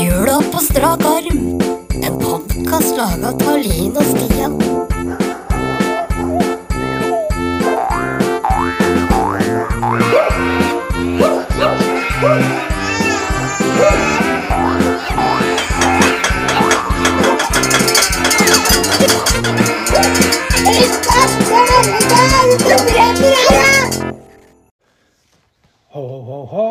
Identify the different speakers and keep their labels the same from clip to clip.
Speaker 1: Jula på strak arm. En podkast laga av Linn og Stian.
Speaker 2: Ho, ho, ho!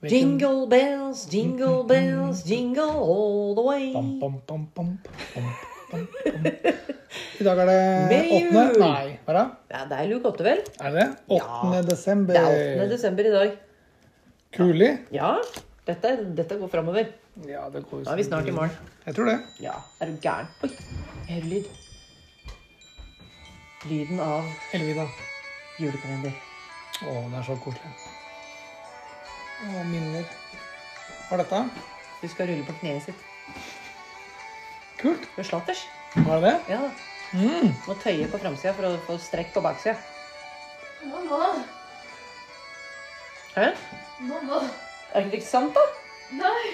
Speaker 2: Hvilken-
Speaker 3: Jingle bells, jingle bells, jingle all the way.
Speaker 2: Bam, bam, bam, bam, bam, bam, bam. I dag er det
Speaker 3: Med jul!
Speaker 2: åttende Nei, hva er det?
Speaker 3: Ja, det er luke åtte, vel?
Speaker 2: Er det det? Åttende desember.
Speaker 3: Det er 8. desember i dag.
Speaker 2: Kuli?
Speaker 3: Ja, dette, dette går framover.
Speaker 2: Ja, det går jo
Speaker 3: Da er vi snart i morgen.
Speaker 2: Jeg tror det.
Speaker 3: Ja, er du gæren? Oi, jeg hører lyd. Lyden av
Speaker 2: Elvida.
Speaker 3: julekalender.
Speaker 2: Å, det er så koselig. Å, minner. Hva er dette?
Speaker 3: Du skal rulle på kneet sitt.
Speaker 2: Kult.
Speaker 3: Med slatters.
Speaker 2: Hva er det?
Speaker 3: Ja,
Speaker 2: Mm.
Speaker 3: må tøye på framsida for å få strekk på baksida.
Speaker 4: Mamma!
Speaker 3: Hæ?
Speaker 4: Mamma!
Speaker 3: Er det ikke sant, da?
Speaker 4: Nei!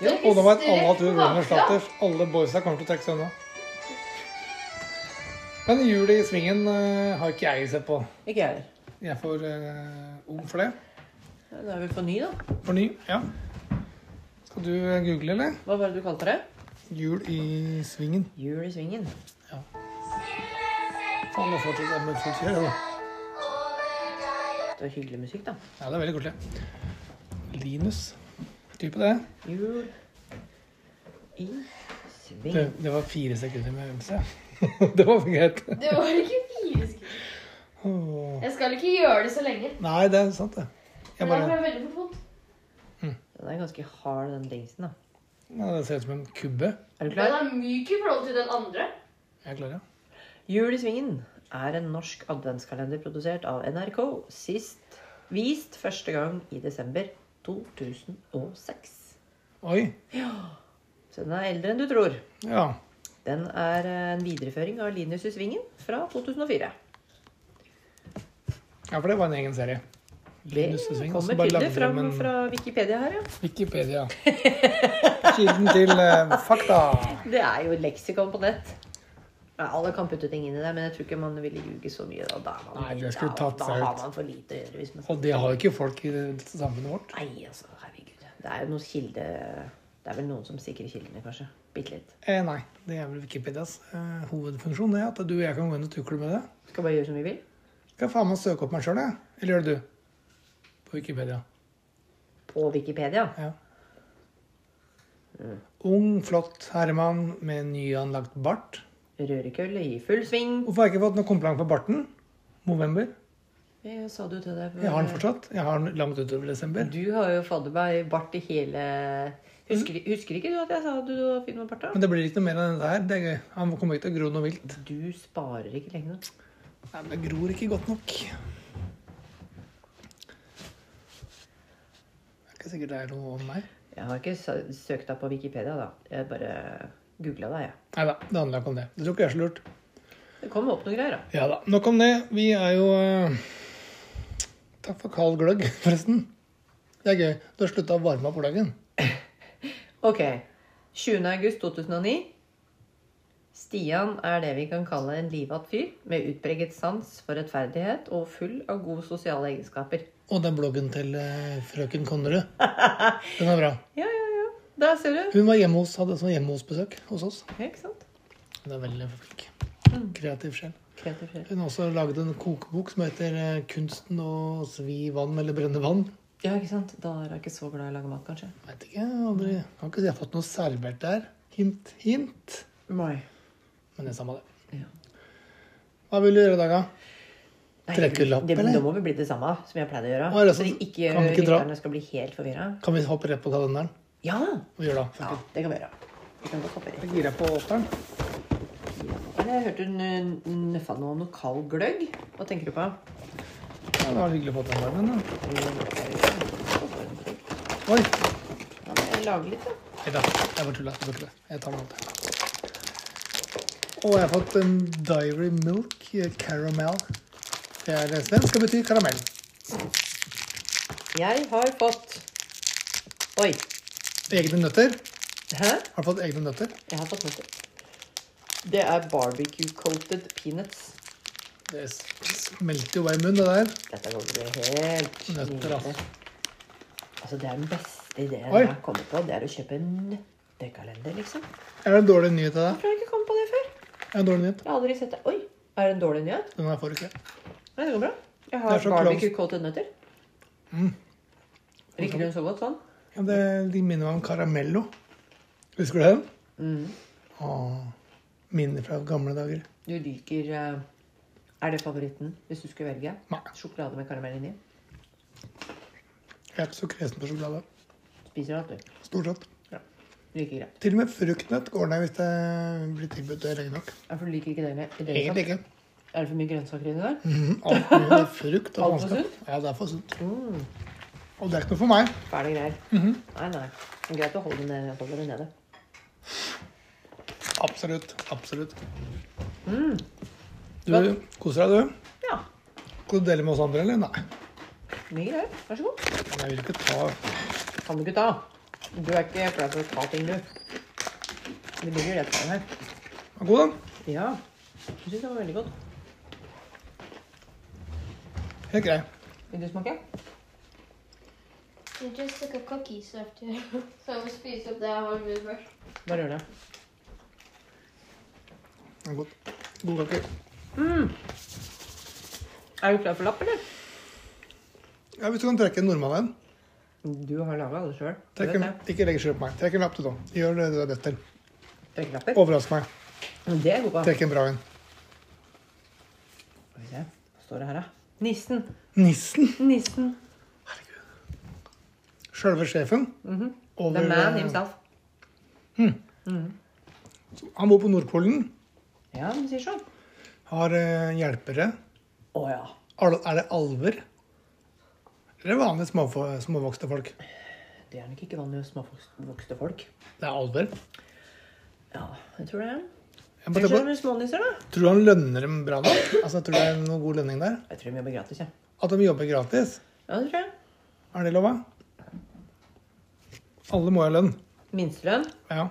Speaker 3: Jo,
Speaker 2: Og nå vet alle
Speaker 4: Strekk
Speaker 2: at du
Speaker 4: på
Speaker 2: ruller
Speaker 4: baksida.
Speaker 2: slatters. Alle boysa kommer til å trekke seg unna. Men jul i svingen eh, har ikke jeg sett på.
Speaker 3: Ikke jeg heller.
Speaker 2: Jeg er for eh, ung for det.
Speaker 3: Ja, Da er vi for ny, da.
Speaker 2: For ny. Ja. Skal du eh, google, eller?
Speaker 3: Hva var det du kalte det?
Speaker 2: Jul i svingen.
Speaker 3: Jul i svingen.
Speaker 2: Faen, nå fortsetter jeg med fullt kjør. jo.
Speaker 3: Det var hyggelig musikk, da.
Speaker 2: Ja, det er veldig koselig. Linus. Type det.
Speaker 3: Jul i
Speaker 2: det.
Speaker 3: sving.
Speaker 2: Det var fire sekunder med øvelse. det var greit.
Speaker 4: Det var ikke fire skudd.
Speaker 2: Åh.
Speaker 4: Jeg skal ikke gjøre det så lenge.
Speaker 2: Nei, det er sant, det. Jeg
Speaker 4: Men jeg
Speaker 2: bare,
Speaker 4: får veldig på fot.
Speaker 3: Den er ganske hard, den dingsen. da.
Speaker 2: ja, det ser ut som en kubbe.
Speaker 3: Er du
Speaker 4: Den
Speaker 3: klar?
Speaker 4: er myk i forhold til den andre.
Speaker 2: Jeg klarer det.
Speaker 3: Jul i svingen er en norsk adventskalender produsert av NRK. Sist vist første gang i desember 2006.
Speaker 2: Oi.
Speaker 3: Så den er eldre enn du tror.
Speaker 2: Ja.
Speaker 3: Den er eh, en videreføring av Linus i svingen fra 2004.
Speaker 2: ja, for det var en egen serie.
Speaker 3: Det
Speaker 2: Linus i svingen, så
Speaker 3: kommer
Speaker 2: bare
Speaker 3: tydelig
Speaker 2: lagde de
Speaker 3: fram
Speaker 2: en-
Speaker 3: fra Wikipedia her, ja.
Speaker 2: Wikipedia. Kilden til eh, fakta.
Speaker 3: Det er jo leksikon på nett. Ja, alle kan putte ting inn i det, men jeg tror ikke man ville ljuge så mye. Da, da, er man,
Speaker 2: Nei, det skulle
Speaker 3: da,
Speaker 2: tatt
Speaker 3: da
Speaker 2: seg
Speaker 3: har
Speaker 2: ut.
Speaker 3: man for lite å gjøre. Hvis man...
Speaker 2: Og det har jo ikke folk i samfunnet vårt.
Speaker 3: Nei, altså, herregud. Det er jo noen kilde... Det er vel noen som sikrer kildene, kanskje. Bitte litt.
Speaker 2: Eh, nei, det er vel Wikipedias eh, hovedfunksjon, det. At du og jeg kan gå inn og tukle med det.
Speaker 3: Skal bare gjøre som vi vil.
Speaker 2: Skal faen meg søke opp meg sjøl, jeg. Eller gjør det du? På Wikipedia.
Speaker 3: På Wikipedia.
Speaker 2: Ja. Ung, flott herremann med nyanlagt bart.
Speaker 3: Rørekølle i full sving.
Speaker 2: Hvorfor har jeg ikke fått noe kompliment på barten? November.
Speaker 3: Jeg sa du til deg.
Speaker 2: Jeg har den fortsatt. Jeg har den langt utover desember.
Speaker 3: Du har jo fadder meg bart i hele... Husker, husker ikke du at jeg sa at du var fin med bart da?
Speaker 2: Mm. Men det blir ikke noe mer enn det der. Det er gøy. Han kommer ikke til å gro noe vilt.
Speaker 3: Du sparer ikke lenge nok.
Speaker 2: Nei, men det gror ikke godt nok. Det er ikke sikkert det er noe om meg.
Speaker 3: Jeg har ikke sø- søkt deg på Wikipedia, da. Jeg bare googla deg, jeg.
Speaker 2: Nei da, det handler ikke om det. Det tror ikke jeg er så lurt.
Speaker 3: Det kom opp noen greier, da.
Speaker 2: Ja da. Nok om det. Vi er jo eh, Takk for kald gløgg, forresten. Det er gøy. Du har slutta å varme opp gløggen.
Speaker 3: Ok. 20. august 2009. Stian er det vi kan kalle en livatt fyr, med utpreget sans for rettferdighet og full av gode sosiale egenskaper.
Speaker 2: Og den bloggen til eh, frøken Konnerud. Den er bra.
Speaker 3: Ja, ja, ja. Der ser du.
Speaker 2: Hun var hjemme hos, hadde sånn hjemme hos besøk hos oss.
Speaker 3: Ja, ikke sant?
Speaker 2: Hun er veldig flink. Kreativ sjel.
Speaker 3: Kreativ fyr.
Speaker 2: Hun har også lagd en kokebok som heter eh, 'Kunsten å svi vann eller brenne vann'.
Speaker 3: Ja, ikke sant? Da er jeg ikke så glad i å lage mat, kanskje.
Speaker 2: Veit ikke. jeg har Aldri. Kan ikke si jeg har fått noe servert der. Hint, hint.
Speaker 3: Nei.
Speaker 2: Men det er samme det.
Speaker 3: Ja.
Speaker 2: Hva vil du gjøre i dag, da?
Speaker 3: Nei,
Speaker 2: Trekker lapp,
Speaker 3: det,
Speaker 2: eller?
Speaker 3: Da må vi bli det samme som jeg pleide å gjøre.
Speaker 2: Hva er det
Speaker 3: så
Speaker 2: som-
Speaker 3: de ikke,
Speaker 2: kan vi ikke dra?
Speaker 3: lytterne skal bli helt forvirra.
Speaker 2: Kan vi hoppe rett på kalenderen?
Speaker 3: Ja.
Speaker 2: Vi gjør det. Fuck
Speaker 3: ja!
Speaker 2: it.
Speaker 3: Det kan vi gjøre. Vi kan godt hoppe rett.
Speaker 2: Jeg girer på åtteren.
Speaker 3: Men Jeg hørte hun eh, nøffa noe om noe kald gløgg. Hva tenker du på?
Speaker 2: Ja, det var hyggelig å få den varmen. da.
Speaker 3: Ja,
Speaker 2: Oi!
Speaker 3: men jeg lager litt, da.
Speaker 2: Nei da, jeg bare tulla. Jeg bare tulla. Jeg tar den alltid. Og jeg har fått en Diary Milk eh, Caramel. Det er svensk og betyr karamell.
Speaker 3: Jeg har fått Oi.
Speaker 2: Egne nøtter.
Speaker 3: Hæ?
Speaker 2: Har du fått egne nøtter?
Speaker 3: Jeg har fått nøtter. Det er barbecue-coated peanuts.
Speaker 2: Det smelter jo hver munn, det der.
Speaker 3: Dette kommer til å bli helt
Speaker 2: Nøtter, altså.
Speaker 3: nydelig. Altså, det er den beste ideen
Speaker 2: Oi.
Speaker 3: jeg har kommet på. Det er å kjøpe en nøttekalender, liksom.
Speaker 2: Er det en dårlig nyhet til deg?
Speaker 3: Hvorfor har jeg ikke kommet på det før?
Speaker 2: Er det en dårlig nyhet?
Speaker 3: Jeg har aldri sett det. Oi, er det en dårlig nyhet?
Speaker 2: Den her får du ikke.
Speaker 3: Nei, det går bra. Jeg
Speaker 2: Det er
Speaker 3: har
Speaker 2: så
Speaker 3: barbecue coated nøtter.
Speaker 2: Mm.
Speaker 3: Liker hun så godt sånn?
Speaker 2: Ja, det, de minner meg om Caramello. Husker du den?
Speaker 3: Mm.
Speaker 2: Åh, minner fra gamle dager.
Speaker 3: Du liker eh, Er det favoritten, hvis du skulle velge?
Speaker 2: Nei.
Speaker 3: Sjokolade med karamell inni?
Speaker 2: Jeg er ikke så kresen på sjokolade.
Speaker 3: Spiser alt, du.
Speaker 2: Stort sett.
Speaker 3: Liker greit.
Speaker 2: Til og med fruktnøtt går ned hvis det blir tilbudt det lenge nok.
Speaker 3: Ja, for du liker ikke det med i det hele
Speaker 2: Egentlig
Speaker 3: tatt?
Speaker 2: ikke.
Speaker 3: Er det for mye grønnsaker inni der?
Speaker 2: Mhm, Alt mulig frukt og
Speaker 3: Alt for
Speaker 2: faenskap.
Speaker 3: sunt?
Speaker 2: Ja, det er for sunt.
Speaker 3: Mm.
Speaker 2: Og det er ikke noe for meg.
Speaker 3: Fæle greier.
Speaker 2: Mhm.
Speaker 3: Nei, nei. Det er greit å holde det nede. Holde det nede.
Speaker 2: Absolutt. Absolutt.
Speaker 3: Mm.
Speaker 2: Du koser deg, du?
Speaker 3: Ja.
Speaker 2: Skal du dele med oss andre, eller? Nei.
Speaker 3: Mye greier. Vær så god.
Speaker 2: Men Jeg vil ikke ta
Speaker 3: Kan du ikke ta? Du er ikke flau for å ta ting, du. Det blir jo rett her.
Speaker 2: Den er god, den.
Speaker 3: Ja. Jeg syns det var veldig godt.
Speaker 2: Helt grei.
Speaker 3: Vil du smake?
Speaker 4: You just took a cookie, so I have to- so I will spise up that one with brush.
Speaker 3: Bare gjør det.
Speaker 2: Den er god. God kake.
Speaker 3: Mm. Er du klar for lapp, eller?
Speaker 2: Ja, Hvis du kan trekke en nordmann en.
Speaker 3: Du har laga det sjøl.
Speaker 2: Trekk en- Ikke legg skjul på meg. Trekk en lapp til nå. Gjør det du er nødt til.
Speaker 3: Trekkelapper.
Speaker 2: Overrask meg.
Speaker 3: Det er god på.
Speaker 2: Trekk en bra en.
Speaker 3: Skal vi se. Hva står det her, da? Nissen.
Speaker 2: Nissen.
Speaker 3: Nissen.
Speaker 2: Sjølve sjefen.
Speaker 3: Mhm.
Speaker 2: Over,
Speaker 3: The man
Speaker 2: eh,
Speaker 3: himself.
Speaker 2: Han bor på Nordpolen.
Speaker 3: Ja, de sier sånn.
Speaker 2: Har eh, hjelpere.
Speaker 3: Å ja.
Speaker 2: Al er det alver? Eller vanlige småfo- småvokste folk?
Speaker 3: Det er nok ikke vanlig hos småvokste folk.
Speaker 2: Det er alver.
Speaker 3: Ja, jeg tror det er
Speaker 2: Jeg bare
Speaker 3: Tenk
Speaker 2: tenker
Speaker 3: deg smånisser, da.
Speaker 2: på, tror du han lønner dem bra nok? Altså, tror du det er noe god lønning der?
Speaker 3: Jeg tror de jobber gratis, jeg.
Speaker 2: At de jobber gratis?
Speaker 3: Ja, det tror jeg.
Speaker 2: Er det lov? Alle må ha lønn.
Speaker 3: Minstelønn?
Speaker 2: Ja.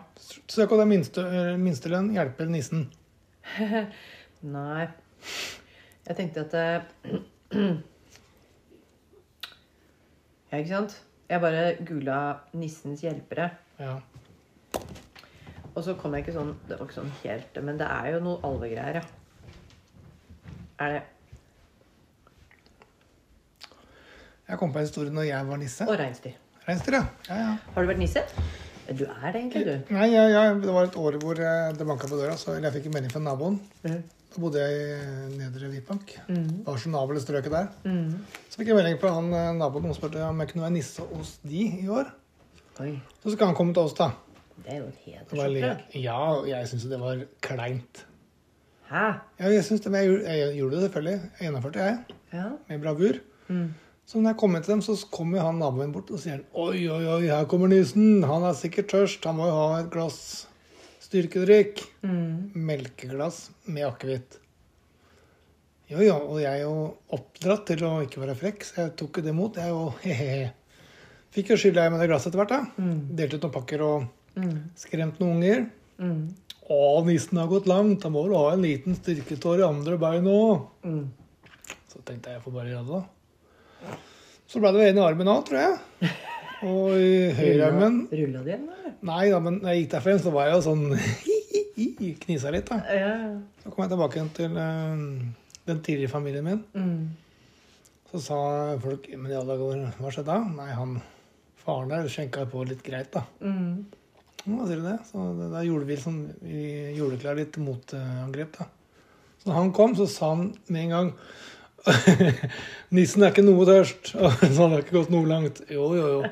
Speaker 2: Søk om det er minste, eh, minstelønn hjelper nissen.
Speaker 3: Nei. Jeg tenkte at eh, Ja, ikke sant? Jeg bare googla 'Nissens hjelpere',
Speaker 2: Ja.
Speaker 3: og så kom jeg ikke sånn Det var ikke sånn helt Men det er jo noe alvegreier, ja. Er det
Speaker 2: Jeg kom på en historie når jeg var nisse.
Speaker 3: Og reinsdyr.
Speaker 2: Reinsdyr, ja. ja, ja.
Speaker 3: Har du vært nisse? Du er det egentlig, du.
Speaker 2: Nei, ja, ja. Det var et år hvor eh, det banka på døra, så eller jeg fikk en melding fra naboen.
Speaker 3: Mhm.
Speaker 2: Da bodde jeg i Nedre Vipank.
Speaker 3: Mhm.
Speaker 2: Det var så nabelt strøket der.
Speaker 3: Mhm.
Speaker 2: Så fikk jeg melding fra han eh, naboen og spurte om jeg kunne være nisse hos de i år.
Speaker 3: Oi.
Speaker 2: Så skal han komme til oss, da.
Speaker 3: Det er jo et
Speaker 2: Det var le-
Speaker 3: hedersoppdrag.
Speaker 2: ja, og jeg syns jo det var kleint.
Speaker 3: Hæ?
Speaker 2: Ja, jeg synes det, men jeg, gjorde- jeg gjorde det selvfølgelig. Jeg gjennomførte jeg,
Speaker 3: Ja.
Speaker 2: med bravur.
Speaker 3: Mhm.
Speaker 2: Så når jeg kom inn til dem, så kommer jo han naboen min bort og sier han, Oi, oi, oi, her kommer nissen. Han er sikkert tørst. Han må jo ha et glass styrkedrikk.
Speaker 3: Mhm.
Speaker 2: Melkeglass med akevitt. Jo, jo, og jeg er jo oppdratt til å ikke være frekk, så jeg tok jo det imot. Jeg er jo he-he. Fikk jo skylda i med det glasset etter hvert, da.
Speaker 3: Mm.
Speaker 2: Delte ut noen pakker og
Speaker 3: Mm.
Speaker 2: skremt noen unger.
Speaker 3: Mm.
Speaker 2: Å, nissen har gått langt. Han må vel ha en liten styrketår i andre bein òg.
Speaker 3: Mm.
Speaker 2: Så tenkte jeg jeg får bare gjøre det, da. Så ble det en i armen òg, tror jeg. Og i høyrearmen
Speaker 3: Rulla de igjen, eller?
Speaker 2: Nei da, men når jeg gikk derfra, så var jeg jo sånn Knisa litt, da.
Speaker 3: Ja, ja.
Speaker 2: Så kom jeg tilbake igjen til eh, den tidligere familien min.
Speaker 3: Mm.
Speaker 2: Så sa folk Men i alle dager, hva skjedde da? Nei, han faren der skjenka på litt greit, da.
Speaker 3: Mm.
Speaker 2: «Å, Hva sier du det? Så det- da gjorde vi sånn Vi gjorde klar litt motangrep, da. Så når han kom, så sa han med en gang Nissen er ikke noe tørst, og så han har ikke gått noe langt. Jo, jo, jo.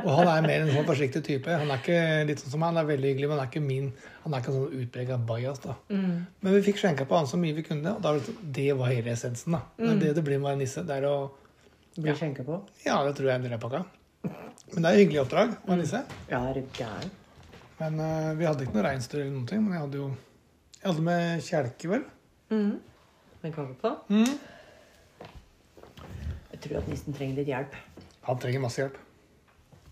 Speaker 2: Og han er mer en sånn forsiktig type. Han er ikke litt sånn som meg, han er veldig hyggelig, men han er ikke min. Han er ikke sånn utprega bajas, da.
Speaker 3: Mm.
Speaker 2: Men vi fikk skjenka på han så mye vi kunne, og da, var det sånn- det var hele essensen. da. Det er det det blir med å være nisse. Det er å
Speaker 3: Blir skjenka på?
Speaker 2: Ja, det tror jeg er en del av pakka. Men det er et hyggelig oppdrag å være nisse.
Speaker 3: Ja, er du gæren?
Speaker 2: Men eh, vi hadde ikke noe reinsdyr eller noen ting. Men jeg hadde jo Jeg hadde med kjelke, vel.
Speaker 3: Mm. Med kake på?
Speaker 2: Mm.
Speaker 3: Jeg Jeg tror at nissen trenger litt hjelp.
Speaker 2: Han trenger masse hjelp.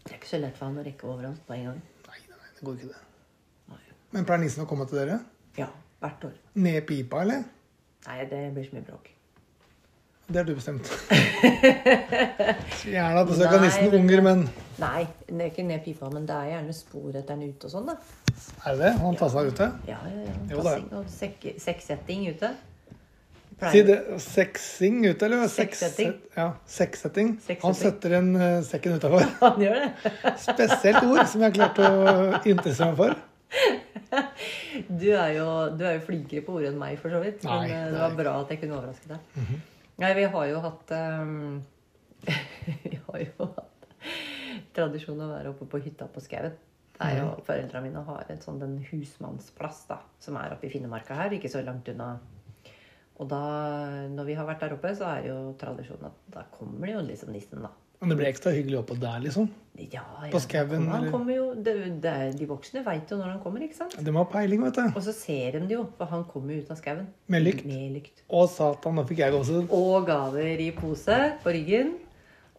Speaker 3: Det er ikke så lett for han å rekke over alt på en gang.
Speaker 2: Nei, nei, nei, det går ikke, det.
Speaker 3: Nei.
Speaker 2: Men pleier nissen å komme til dere?
Speaker 3: Ja, hvert år.
Speaker 2: Ned i pipa, eller?
Speaker 3: Nei, det blir så mye bråk.
Speaker 2: Det har du bestemt. Så Gjerne at besøk av
Speaker 3: Nei,
Speaker 2: nissen
Speaker 3: men-
Speaker 2: unger, men
Speaker 3: Nei, det er ikke ned pipa, men det er gjerne spor etter den ute og sånn, da.
Speaker 2: er det det? Han tar seg ute?
Speaker 3: Ja, ja, ja.
Speaker 2: Jo da.
Speaker 3: Passing og sekke- sekksetting ute.
Speaker 2: Si det. Sexing ute, eller? Sex-
Speaker 3: Sexsetting.
Speaker 2: Ja, sexsetting.
Speaker 3: Sexsetting.
Speaker 2: Han setter en eh, sekken utafor.
Speaker 3: Han gjør det.
Speaker 2: Spesielt ord som jeg har klart å interessere meg for.
Speaker 3: Du er, jo, du er jo flinkere på ord enn meg, for så vidt.
Speaker 2: Nei,
Speaker 3: Men eh, det var
Speaker 2: nei.
Speaker 3: bra at jeg kunne overraske deg.
Speaker 2: Mhm.
Speaker 3: Nei, vi har jo hatt ehm, Vi har jo hatt tradisjon å være oppe på hytta på skauen. Det er
Speaker 2: Mhm.
Speaker 3: jo, Foreldra mine har et sånn en husmannsplass da, som er oppe i Finnemarka her, ikke så langt unna. Og da, når vi har vært der oppe, så er det jo tradisjon at da kommer det jo liksom nissen, da.
Speaker 2: Men det blir ekstra hyggelig oppå der, liksom.
Speaker 3: Ja, ja.
Speaker 2: På skauen,
Speaker 3: Han
Speaker 2: eller?
Speaker 3: kommer jo, det, det er, de voksne veit jo når han kommer, ikke sant?
Speaker 2: De har peiling, vet du.
Speaker 3: Og så ser de det jo, for han kommer jo ut av skauen.
Speaker 2: Med lykt.
Speaker 3: Med lykt.
Speaker 2: Og satan, da fikk jeg også
Speaker 3: Og gaver i pose på ryggen.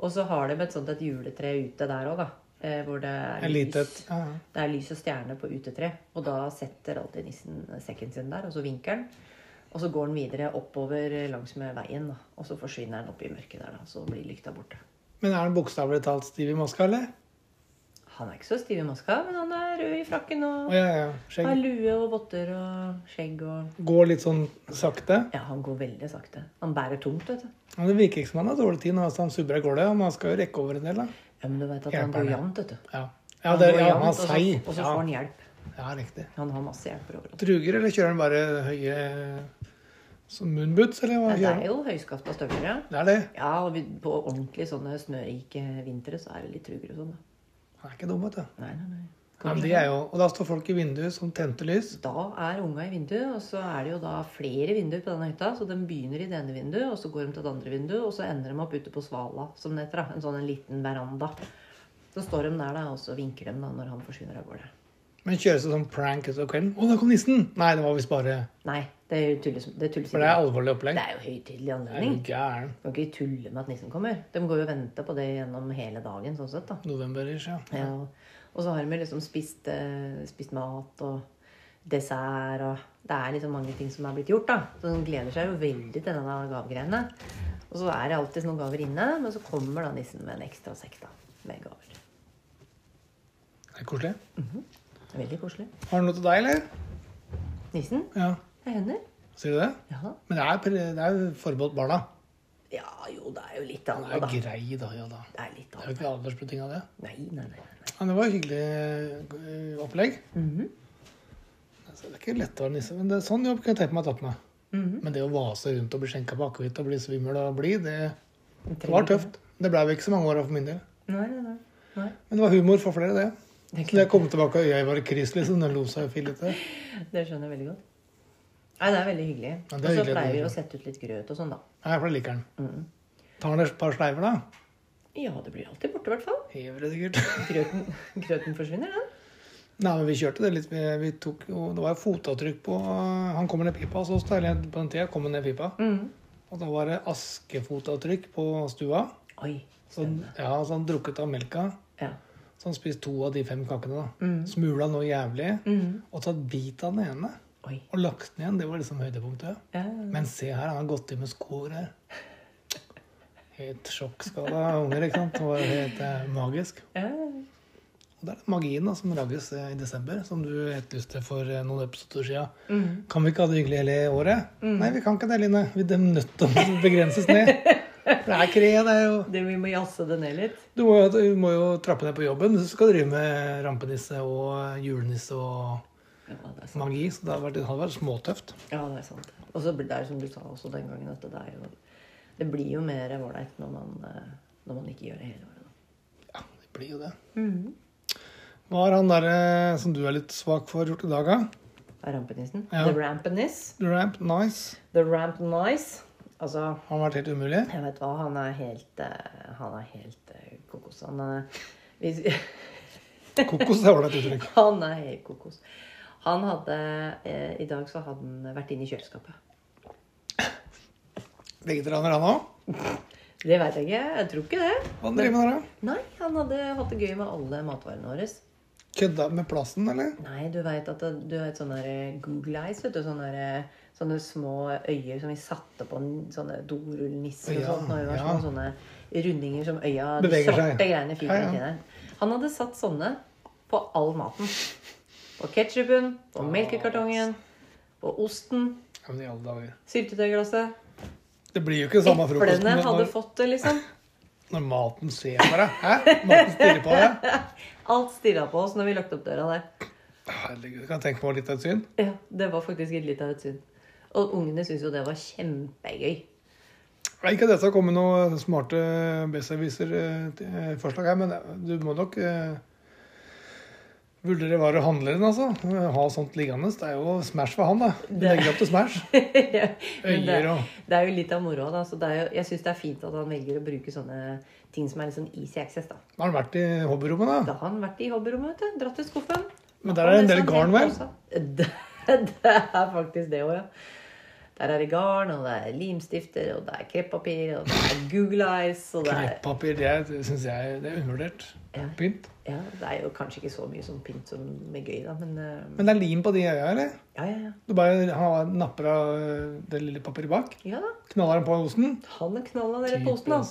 Speaker 3: Og så har de et sånt et juletre ute der òg, da. eh, Hvor det er
Speaker 2: en lite
Speaker 3: lys.
Speaker 2: ja, ja.
Speaker 3: Det er lys og stjerne på utetre. Og da setter alltid nissen sekken sin der, og så vinker han. Og så går han videre oppover langsmed veien, da. Og så forsvinner han opp i mørket der, da. Så blir lykta borte.
Speaker 2: Men er han bokstavelig talt stiv i maska, eller?
Speaker 3: Han er ikke så stiv i maska, men han er rød i frakken
Speaker 2: Å,
Speaker 3: og
Speaker 2: ja, ja.
Speaker 3: har
Speaker 2: Skjegg.
Speaker 3: lue og votter og skjegg og
Speaker 2: Går litt sånn sakte.
Speaker 3: Ja, han går veldig sakte. Han bærer tungt, vet du.
Speaker 2: Men det virker ikke som han har dårlig tid når altså, han subber av gårde. Men han skal jo rekke over en del, da.
Speaker 3: Ja, men du vet at han
Speaker 2: Hjelper
Speaker 3: går
Speaker 2: det.
Speaker 3: jevnt, vet du.
Speaker 2: Ja, ja, det,
Speaker 3: går
Speaker 2: ja
Speaker 3: jevnt,
Speaker 2: han
Speaker 3: og
Speaker 2: er
Speaker 3: så-
Speaker 2: seig.
Speaker 3: Og så
Speaker 2: Ja,
Speaker 3: får han hjelp.
Speaker 2: ja, riktig.
Speaker 3: Han har masse hjelp overalt.
Speaker 2: Truger, eller kjører han bare høye som moonboots, eller hva
Speaker 3: Ja, det
Speaker 2: kjører
Speaker 3: er
Speaker 2: han?
Speaker 3: jo høyskafta støvler, ja.
Speaker 2: Det er det.
Speaker 3: Ja, og vi, på ordentlig sånne snørike vintre så er det litt trugere og sånn, da.
Speaker 2: Han er ikke dum, vet du.
Speaker 3: Nei, nei, nei.
Speaker 2: Ja, men det er jo, og da står folk i vinduet som tente lys.
Speaker 3: Da er unga i vinduet, og så er det jo da flere vinduer på denne hytta. Så de begynner i det ene vinduet, og så går de til det andre vinduet, og så ender de opp ute på Svala, som det heter. da. En sånn en liten veranda. Så står de der, da, og så vinker de da når han forsvinner av gårde.
Speaker 2: Men kjøres det sånn prank utover kvelden? 'Å, der kom nissen!' Nei, det var visst bare
Speaker 3: Nei, det tulles det tulles
Speaker 2: For det er
Speaker 3: ikke.
Speaker 2: alvorlig opplegg.
Speaker 3: Det er jo høytidelig
Speaker 2: Er du
Speaker 3: anledning.
Speaker 2: gæren?
Speaker 3: Du kan ikke tulle med at nissen kommer. De går jo og venter på det gjennom hele dagen. sånn sett da.
Speaker 2: November-ish, ja.
Speaker 3: Ja. Og så har de liksom spist, eh, spist mat og dessert og Det er liksom mange ting som er blitt gjort. da. Så De gleder seg jo veldig til denne gavegreiene. Og så er det alltid noen gaver inne, men så kommer da nissen med en ekstra sekk da, med gaver.
Speaker 2: Det er koselig.
Speaker 3: Det er Veldig koselig.
Speaker 2: Har du noe til deg, eller?
Speaker 3: Nissen?
Speaker 2: Ja.
Speaker 3: Det hender.
Speaker 2: Sier du det?
Speaker 3: Ja.
Speaker 2: Men det er, pre- det er jo forbeholdt barna.
Speaker 3: ja, jo, det er jo litt
Speaker 2: Det
Speaker 3: annet,
Speaker 2: er
Speaker 3: da.
Speaker 2: grei, da. Ja da.
Speaker 3: Det er litt
Speaker 2: Det er jo
Speaker 3: annet.
Speaker 2: ikke aldersbetinga, det.
Speaker 3: Nei, nei, nei. nei.
Speaker 2: Men det var et hyggelig eh, opplegg.
Speaker 3: Mhm.
Speaker 2: Altså, det er ikke lett å være nisse, men det er sånn jobb kunne jeg tenkt meg å ta på meg.
Speaker 3: Mhm.
Speaker 2: Men det å vase rundt og bli skjenka på akevitt og bli svimmel og blid, det, det
Speaker 3: Trenger
Speaker 2: var
Speaker 3: ikke-
Speaker 2: tøft. Det blei jo ikke så mange åra for min del.
Speaker 3: Nei, nei, nei. nei.
Speaker 2: Men det var humor for flere, det.
Speaker 3: Det er
Speaker 2: Så da jeg kom tilbake, og jeg var i kris, liksom. Den lo seg fillete.
Speaker 3: Det skjønner jeg veldig godt. Nei, det er veldig hyggelig.
Speaker 2: Ja, det er
Speaker 3: og så
Speaker 2: hyggelig at
Speaker 3: pleier
Speaker 2: du
Speaker 3: vi
Speaker 2: gjør
Speaker 3: å sette ut litt grøt og sånn, da.
Speaker 2: Nei, for da liker den.
Speaker 3: Mhm.
Speaker 2: Tar den et par sleiver, da?
Speaker 3: Ja, det blir alltid borte, i hvert fall.
Speaker 2: Hever det sikkert.
Speaker 3: Grøten, grøten forsvinner, den.
Speaker 2: Nei, men vi kjørte det litt. Vi, vi tok jo Det var jo fotavtrykk på Han kommer ned pipa hos oss, da. Eller på den tida kom han ned pipa. Og da var det askefotavtrykk på stua.
Speaker 3: Oi.
Speaker 2: Så han,
Speaker 3: Spennende.
Speaker 2: ja, så han drukket av melka.
Speaker 3: Ja.
Speaker 2: Så han spiste to av de fem kakene, da. Smula noe jævlig.
Speaker 3: Mm.
Speaker 2: Og tatt bit av den ene.
Speaker 3: Oi.
Speaker 2: Og lagt den igjen. Det var liksom høydepunktet.
Speaker 3: Ja.
Speaker 2: Men se her, han har gått i med sko her. Helt sjokkskada unger, ikke sant. Det var helt eh, magisk.
Speaker 3: Ja.
Speaker 2: Og det er den magien da, som lages eh, i desember, som du etterlyste for eh, noen episoder siden. Kan vi ikke ha det hyggelig hele året? Nei, vi kan ikke det, Line. Vi er nødt til å begrenses ned. For det er kre, det er jo
Speaker 3: Det, vi må jazze det ned litt.
Speaker 2: du må, jo- du må jo trappe ned på jobben hvis du skal drive med rampenisse og julenisse og
Speaker 3: Ja, det er sant.
Speaker 2: magi. Så det hadde vært, det hadde vært småtøft.
Speaker 3: Ja, det er sant. Og så blir det er som du sa også den gangen, at det er jo Det blir jo mer ålreit når, man, eh, når man ikke gjør det hele året. da.
Speaker 2: Ja, det blir jo det. Hva har han derre som du er litt svak for, gjort i dag, da?
Speaker 3: Det er rampenissen.
Speaker 2: Ja.
Speaker 3: The rampeniss.
Speaker 2: Ramp, nice.
Speaker 3: The ramp nice. Altså
Speaker 2: Har han vært helt umulig?
Speaker 3: Jeg vet hva, han er helt eh, Han er helt eh, kokos. Han er, hvis,
Speaker 2: Kokos er ålreit uttrykk.
Speaker 3: han er helt kokos. Han hadde eh, I dag så hadde han vært inne i kjøleskapet.
Speaker 2: Vegetarianer, han òg?
Speaker 3: Det veit jeg ikke. Jeg tror ikke det.
Speaker 2: Hva driver han med? da?
Speaker 3: Nei, han hadde hatt det gøy med alle matvarene våre.
Speaker 2: Kødda med plassen, eller?
Speaker 3: Nei, du veit at det- du har et sånn der Google Eyes, vet du. Sånne, der, eh, sånne små øyer som vi satte på en- sånne dorullnisser og
Speaker 2: Ja,
Speaker 3: sånt. Når vi var
Speaker 2: ja.
Speaker 3: små, sånne rundinger som øya de
Speaker 2: Beveger
Speaker 3: svarte
Speaker 2: seg.
Speaker 3: greiene
Speaker 2: Ja,
Speaker 3: fyker
Speaker 2: ja.
Speaker 3: i det. Han hadde satt sånne på all maten. På ketsjupen, på melkekartongen, på osten,
Speaker 2: Ja, men i alle dager.
Speaker 3: syltetøyglasset.
Speaker 2: Det blir jo ikke samme frokosten
Speaker 3: Eplene hadde
Speaker 2: når,
Speaker 3: fått det, liksom.
Speaker 2: når maten ser på deg. Hæ? Maten stirrer på deg.
Speaker 3: Alt stirra på oss når vi lukket opp døra der.
Speaker 2: Herregud, kan jeg tenke på litt av et syn?
Speaker 3: Ja, Det var faktisk et litt av et syn. Og ungene syntes jo det var kjempegøy.
Speaker 2: Nei, Ikke at det skal komme noen smarte besserwisser-forslag her, men du må nok eh, vurdere hva du handler inn, altså. Ha sånt liggende. Det er jo Smash for han, da. Du
Speaker 3: Det-
Speaker 2: legger opp til Smash.
Speaker 3: Men det,
Speaker 2: Øyer og
Speaker 3: det er jo litt av moroa, da. Så det er jo, jeg syns det er fint at han velger å bruke sånne ting som er litt sånn easy access, da.
Speaker 2: Har han vært i hobbyrommet, da?
Speaker 3: Da har han vært i hobbyrommet, vet du. Dratt i skuffen.
Speaker 2: Men der er det en del garn, vel?
Speaker 3: Det, det er faktisk det òg, ja. Der er det garn, og det er limstifter, og det er kreppapir, og det er Google Eyes, og det er
Speaker 2: Knepppapir, det syns jeg det er undervurdert.
Speaker 3: Ja.
Speaker 2: Pynt.
Speaker 3: Ja, det er jo kanskje ikke så mye sånn pynt som med gøy, da, men eh,
Speaker 2: Men det er lim på de øya, eller?
Speaker 3: Ja, ja, ja.
Speaker 2: Du bare har, napper av eh, det lille papiret bak,
Speaker 3: Ja da.
Speaker 2: knaller den på osten.
Speaker 3: Han knalla nede i posen, da.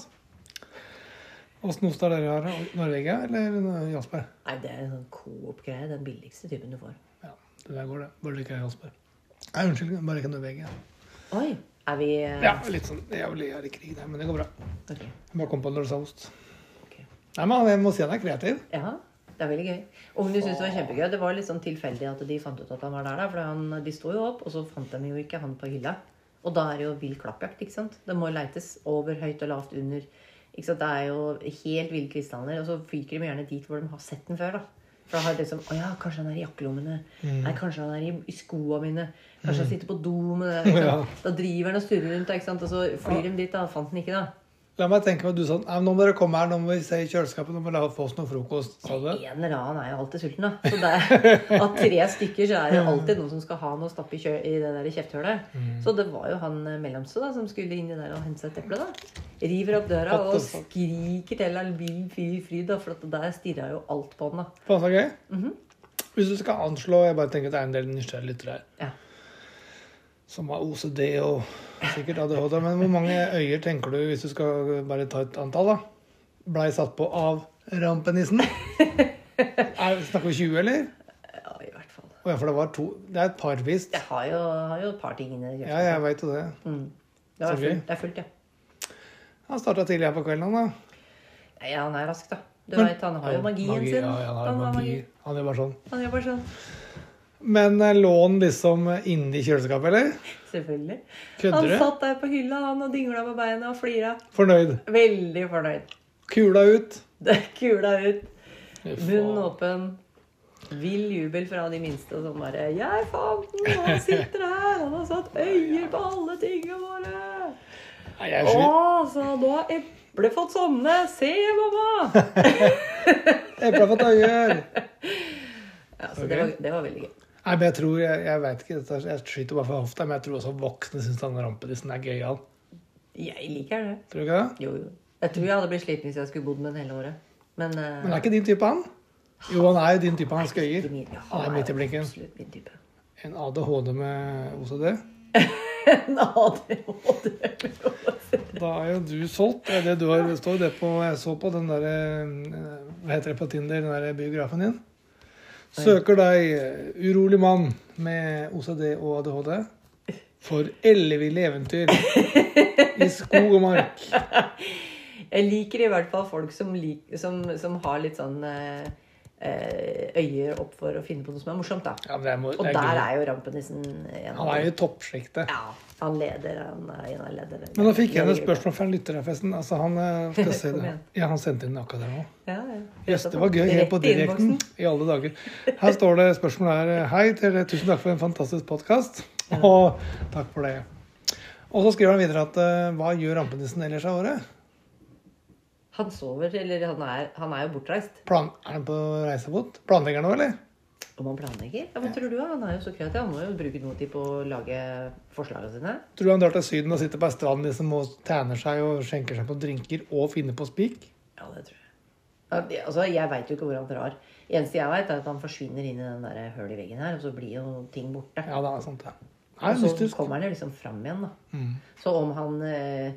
Speaker 2: Åssen ost har dere her? Norvegia eller eh, Jarlsberg?
Speaker 3: Nei, det er en sånn coop-greie. Den billigste typen du får.
Speaker 2: Ja, det der går det. Bare det ikke er Jarlsberg. Nei, unnskyld, bare det ikke er Norvegia.
Speaker 3: Oi! Er vi eh,
Speaker 2: Ja, litt sånn Jeg vil gjøre krig der, men det går bra.
Speaker 3: ok,
Speaker 2: Jeg bare kom på når du sa ost.
Speaker 3: ok.
Speaker 2: Nei, men jeg må si han er kreativ.
Speaker 3: Ja, det er veldig gøy. Ungene syntes det var kjempegøy. Det var litt sånn tilfeldig at de fant ut at han var der, da, for han, de sto jo opp, og så fant de jo ikke han på hylla. Og da er det jo vill klappjakt, ikke sant? Det må leites over høyt og lavt under. Ikke sant? Det er jo helt ville kristaller, og så fyker de gjerne dit hvor de har sett den før, da. For da har de liksom Å ja, kanskje han er i jakkelommene. Nei, kanskje han er i, i skoa mine. Kanskje han sitter på do med det. Ikke sant? Da driver han og surrer rundt, da, ikke sant? og så flyr de dit, da. Fant den ikke, da.
Speaker 2: La meg tenke på at du sa Nei, nå må dere komme her, nå må vi se i kjøleskapet, nå må vi la få oss noe frokost. Sa du det?
Speaker 3: En eller annen er jo alltid sulten, da. Så det er, av tre stykker så
Speaker 2: Mm.
Speaker 3: er det alltid noen som skal ha noe å stappe i, kjø i det der kjefthullet. Så det var jo han eh, mellomste da, som skulle inn i der og hente seg et eple. da. River opp døra
Speaker 2: What the
Speaker 3: og
Speaker 2: fuck?
Speaker 3: skriker til all vill fy- fryd, da, for at der stirra jo alt på han. da.
Speaker 2: Faen så gøy.
Speaker 3: Mhm.
Speaker 2: Hvis du skal anslå Jeg bare tenker at det er en del nysgjerrige lyttere her
Speaker 3: Ja.
Speaker 2: som har OCD og sikkert ADHD. Men hvor mange øyer tenker du, hvis du skal bare ta et antall, da, blei satt på av rampenissen? Er, snakker vi 20, eller?
Speaker 3: ja, i hvert fall.
Speaker 2: Å ja, for det var to Det er et par, visst.
Speaker 3: Jeg har jo, har jo et par ting inni
Speaker 2: Ja, jeg veit jo det.
Speaker 3: Det er
Speaker 2: så gøy.
Speaker 3: fullt, det er fullt ja.
Speaker 2: Han starta tidlig her på kvelden, han da.
Speaker 3: Nei, ja. Han er rask, da. Du vet, han har jo magien
Speaker 2: Magi,
Speaker 3: sin.
Speaker 2: Ja, ja, han har magi. Han gjør bare sånn.
Speaker 3: Han gjør bare sånn.
Speaker 2: Men eh, lå han liksom inni kjøleskapet, eller?
Speaker 3: Selvfølgelig. Han
Speaker 2: Kødder du?
Speaker 3: satt der på hylla, han, og dingla med beina og flira.
Speaker 2: Fornøyd.
Speaker 3: Veldig fornøyd.
Speaker 2: Kula ut.
Speaker 3: Det er kula ut. Munnen åpen. Vill jubel fra de minste som bare 'Jeg fant den! Han sitter her! Han har satt øyer på alle tingene våre!'
Speaker 2: Nei, jeg er sli-
Speaker 3: 'Å, sa han, nå har eplet fått sånne! Se, mamma!'
Speaker 2: Eplet har fått øyer!
Speaker 3: Ja, så det var, det var veldig gøy.
Speaker 2: Nei, men jeg tror, jeg, jeg vet ikke, dette er- jeg skyter bare fra hofta, men jeg tror også voksne syns han rampenissen er gøyal.
Speaker 3: Jeg liker det.
Speaker 2: Tror du ikke det?
Speaker 3: Jo, jo. Jeg tror jeg hadde blitt sliten hvis jeg skulle bodd med den hele året. Men, eh,
Speaker 2: Men er ikke din type, han? Jo, han er jo din type, han
Speaker 3: ikke
Speaker 2: skøyer.
Speaker 3: min- ja,
Speaker 2: Han er midt i blinken.
Speaker 3: Absolutt min type.
Speaker 2: En ADHD med OCD.
Speaker 3: En ADHD.
Speaker 2: Da er jo du solgt. Det, er det du har, det står jo det på Jeg så på den derre Hva heter det på Tinder, den derre biografen din? Søker deg eh, urolig mann med OCD og ADHD for elleville eventyr i skog og mark.
Speaker 3: Jeg liker i hvert fall folk som, lik, som, som har litt sånn eh, eh, øyer opp for å finne på noe som er morsomt, da.
Speaker 2: Ja, men det er, mo-
Speaker 3: Og
Speaker 2: det er
Speaker 3: der
Speaker 2: gøy.
Speaker 3: er jo rampenissen en
Speaker 2: Han
Speaker 3: av
Speaker 2: er jo
Speaker 3: dem.
Speaker 2: i toppsjiktet.
Speaker 3: Ja, han leder. Han er en av lederne.
Speaker 2: Men da fikk jeg et spørsmål fra en lytter her, forresten. Altså, han, eh, skal jeg se
Speaker 3: Kom
Speaker 2: det.
Speaker 3: igjen.
Speaker 2: Ja, han sendte inn akkurat det nå.
Speaker 3: Ja, ja.
Speaker 2: Yes, det var gøy. Helt på
Speaker 3: Rett i
Speaker 2: direkten.
Speaker 3: innboksen.
Speaker 2: I alle dager. Her står det spørsmål her. Hei til dere. Tusen takk for en fantastisk podkast. Og takk for det. Og så skriver han videre at eh, hva gjør rampenissen ellers av året?
Speaker 3: Han sover, eller han er, han er jo bortreist.
Speaker 2: Plan er han på reisefot? Planlegger han noe, eller?
Speaker 3: Om han planlegger? Ja, men tror du Han er jo så kreativ. Han må jo bruke noe tid på å lage forslagene sine.
Speaker 2: Tror du han drar til Syden og sitter på ei strand liksom, og tæner seg og skjenker seg på drinker og finner på spik?
Speaker 3: Ja, det tror jeg. Ja, det- Altså, Jeg veit jo ikke hvor han drar. Eneste jeg veit, er at han forsvinner inn i den der hølet i veggen her, og så blir jo ting borte.
Speaker 2: Ja, det er sant, det. Nei,
Speaker 3: og så
Speaker 2: mystisk. Mm.
Speaker 3: kommer han jo liksom fram igjen, da. Så om han eh,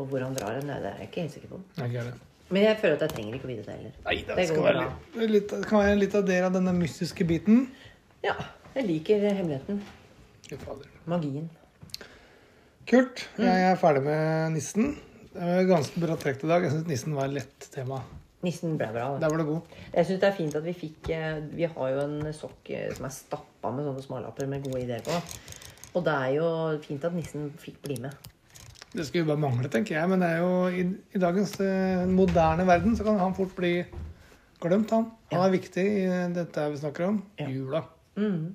Speaker 3: Og hvor han drar hen, nei, det er jeg ikke helt sikker på.
Speaker 2: Nei, ikke jeg det.
Speaker 3: Men jeg føler at jeg trenger ikke å vite det heller.
Speaker 2: Nei, det,
Speaker 3: Det
Speaker 2: skal
Speaker 3: går
Speaker 2: være
Speaker 3: bra.
Speaker 2: litt, litt, det kan være litt av del av denne mystiske biten.
Speaker 3: Ja, jeg liker hemmeligheten.
Speaker 2: Fy fader.
Speaker 3: Magien.
Speaker 2: Kult. Jeg er ferdig med nissen. Det var ganske bra trekk i dag. Jeg syns nissen var et lett tema.
Speaker 3: Nissen ble bra. Da.
Speaker 2: Der var du god.
Speaker 3: Jeg syns det er fint at vi fikk eh, Vi har jo en sokk eh, som er stappa med sånne smålapper med gode ideer på. Og det er jo fint at nissen fikk bli med.
Speaker 2: Det skulle jo bare mangle, tenker jeg. Men det er jo i, i dagens eh, moderne verden så kan han fort bli glemt, han. Han er viktig i dette her vi snakker om.
Speaker 3: Ja.
Speaker 2: Jula.
Speaker 3: Mhm.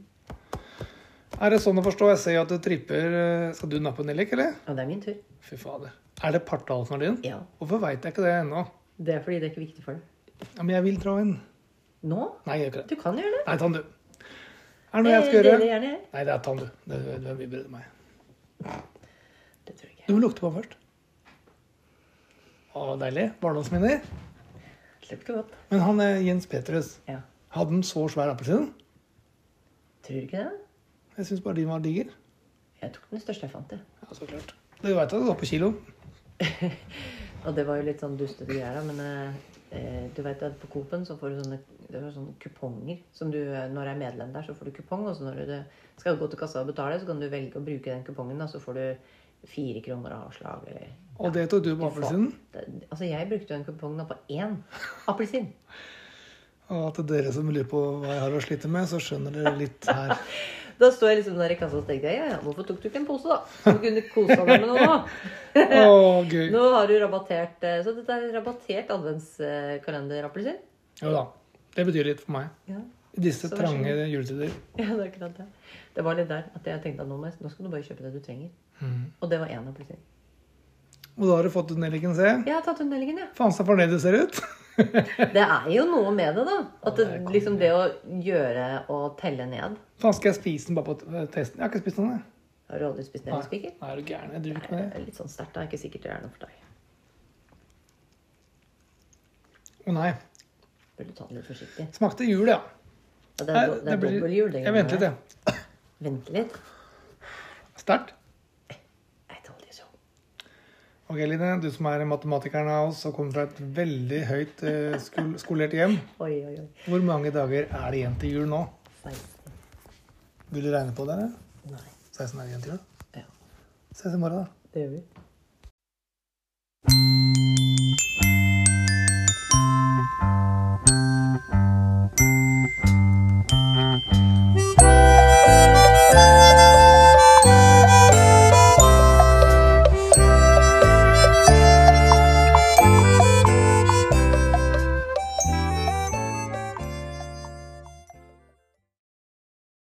Speaker 2: Er det sånn å forstå? Jeg ser jo at du tripper. eh, Skal du nappe Nellik, eller?
Speaker 3: Og det er min tur.
Speaker 2: Fy fader. Er det partallsnardin?
Speaker 3: Ja.
Speaker 2: Hvorfor veit jeg ikke det ennå?
Speaker 3: Det er fordi det er ikke viktig for deg.
Speaker 2: Ja, men jeg vil dra inn.
Speaker 3: Nå?
Speaker 2: Nei, jeg gjør ikke det.
Speaker 3: Du kan gjøre det.
Speaker 2: Nei, tann du. Er det noe jeg skal
Speaker 3: Eh,
Speaker 2: gjøre?
Speaker 3: deler gjerne.
Speaker 2: Nei, det er tann du. Det, du er mye bedre enn meg.
Speaker 3: Det tror jeg ikke.
Speaker 2: Du må lukte på den først. Å, deilig. Barndomsminner.
Speaker 3: Slutt ikke godt.
Speaker 2: Men han er Jens Petrus.
Speaker 3: Ja.
Speaker 2: Hadde han så svær appelsin?
Speaker 3: Tror du ikke det?
Speaker 2: Jeg syns bare de var diger.
Speaker 3: Jeg tok den største jeg fant, jeg.
Speaker 2: Ja, så klart. Du veit at det går på kilo.
Speaker 3: Og det var jo litt sånn dustete greier, da, men eh, eh, du vet at på Coop-en så får du sånne, det var sånne kuponger. Som du, eh, når du er medlem der, så får du kupong, og så når du det- skal gå til kassa og betale, så kan du velge å bruke den kupongen, da, så får du fire kroner avslag eller
Speaker 2: Og det tok du på appelsinen.
Speaker 3: Det- Altså, jeg brukte jo en kupong da på én appelsin.
Speaker 2: Og at dere som lurer på hva jeg har å slite med, så skjønner dere litt her.
Speaker 3: Da står jeg liksom der i kassa og tenker jeg, ja, ja, hvorfor tok du ikke en pose, da? Så du kunne kosa deg med noe, da.
Speaker 2: Å, gøy.
Speaker 3: Nå har du rabattert eh, Så dette er rabattert adventskalenderappelsin.
Speaker 2: Jo da. Det betyr litt for meg.
Speaker 3: Ja.
Speaker 2: I disse
Speaker 3: Så vær så
Speaker 2: trange juletider.
Speaker 3: Ja, det er akkurat det. Det var litt der at jeg tenkte at nå, må jeg, nå skal du bare kjøpe det du trenger.
Speaker 2: Mm.
Speaker 3: Og det var én appelsin.
Speaker 2: Og da har du fått nelliken, se.
Speaker 3: Jeg har tatt tunnelingen, ja.
Speaker 2: Faen så fornøyd du ser ut.
Speaker 3: Det er jo noe med det, da. At det,
Speaker 2: det er
Speaker 3: liksom det å gjøre og telle ned
Speaker 2: Faen, skal jeg spise den bare på t- eh, testen? Jeg har ikke spist den, jeg.
Speaker 3: Har du aldri spist nellikspiker?
Speaker 2: Nei, er du gæren? Jeg driver
Speaker 3: Det
Speaker 2: ikke med det.
Speaker 3: er litt sånn sterkt. Det er ikke sikkert det er noe for deg.
Speaker 2: Å nei.
Speaker 3: Burde ta det litt forsiktig.
Speaker 2: Smakte jul, ja.
Speaker 3: Ja, Det er, do, det er
Speaker 2: blir-
Speaker 3: dobbelthjul.
Speaker 2: Jeg
Speaker 3: det greiene
Speaker 2: venter litt,
Speaker 3: der.
Speaker 2: jeg.
Speaker 3: Vent litt.
Speaker 2: Sterkt.
Speaker 3: Jeg tåler ikke sånn.
Speaker 2: Ok, Line, du som er matematikeren av oss og kommer fra et veldig høyt eh, skol skolert hjem.
Speaker 3: Oi, oi, oi.
Speaker 2: Hvor mange dager er det igjen til jul nå?
Speaker 3: 16.
Speaker 2: Vil du regne på det? eller?
Speaker 3: Nei.
Speaker 2: 16 er det igjen til jul.
Speaker 3: Ja,
Speaker 2: Ses i morgen, da.
Speaker 3: det gjør vi.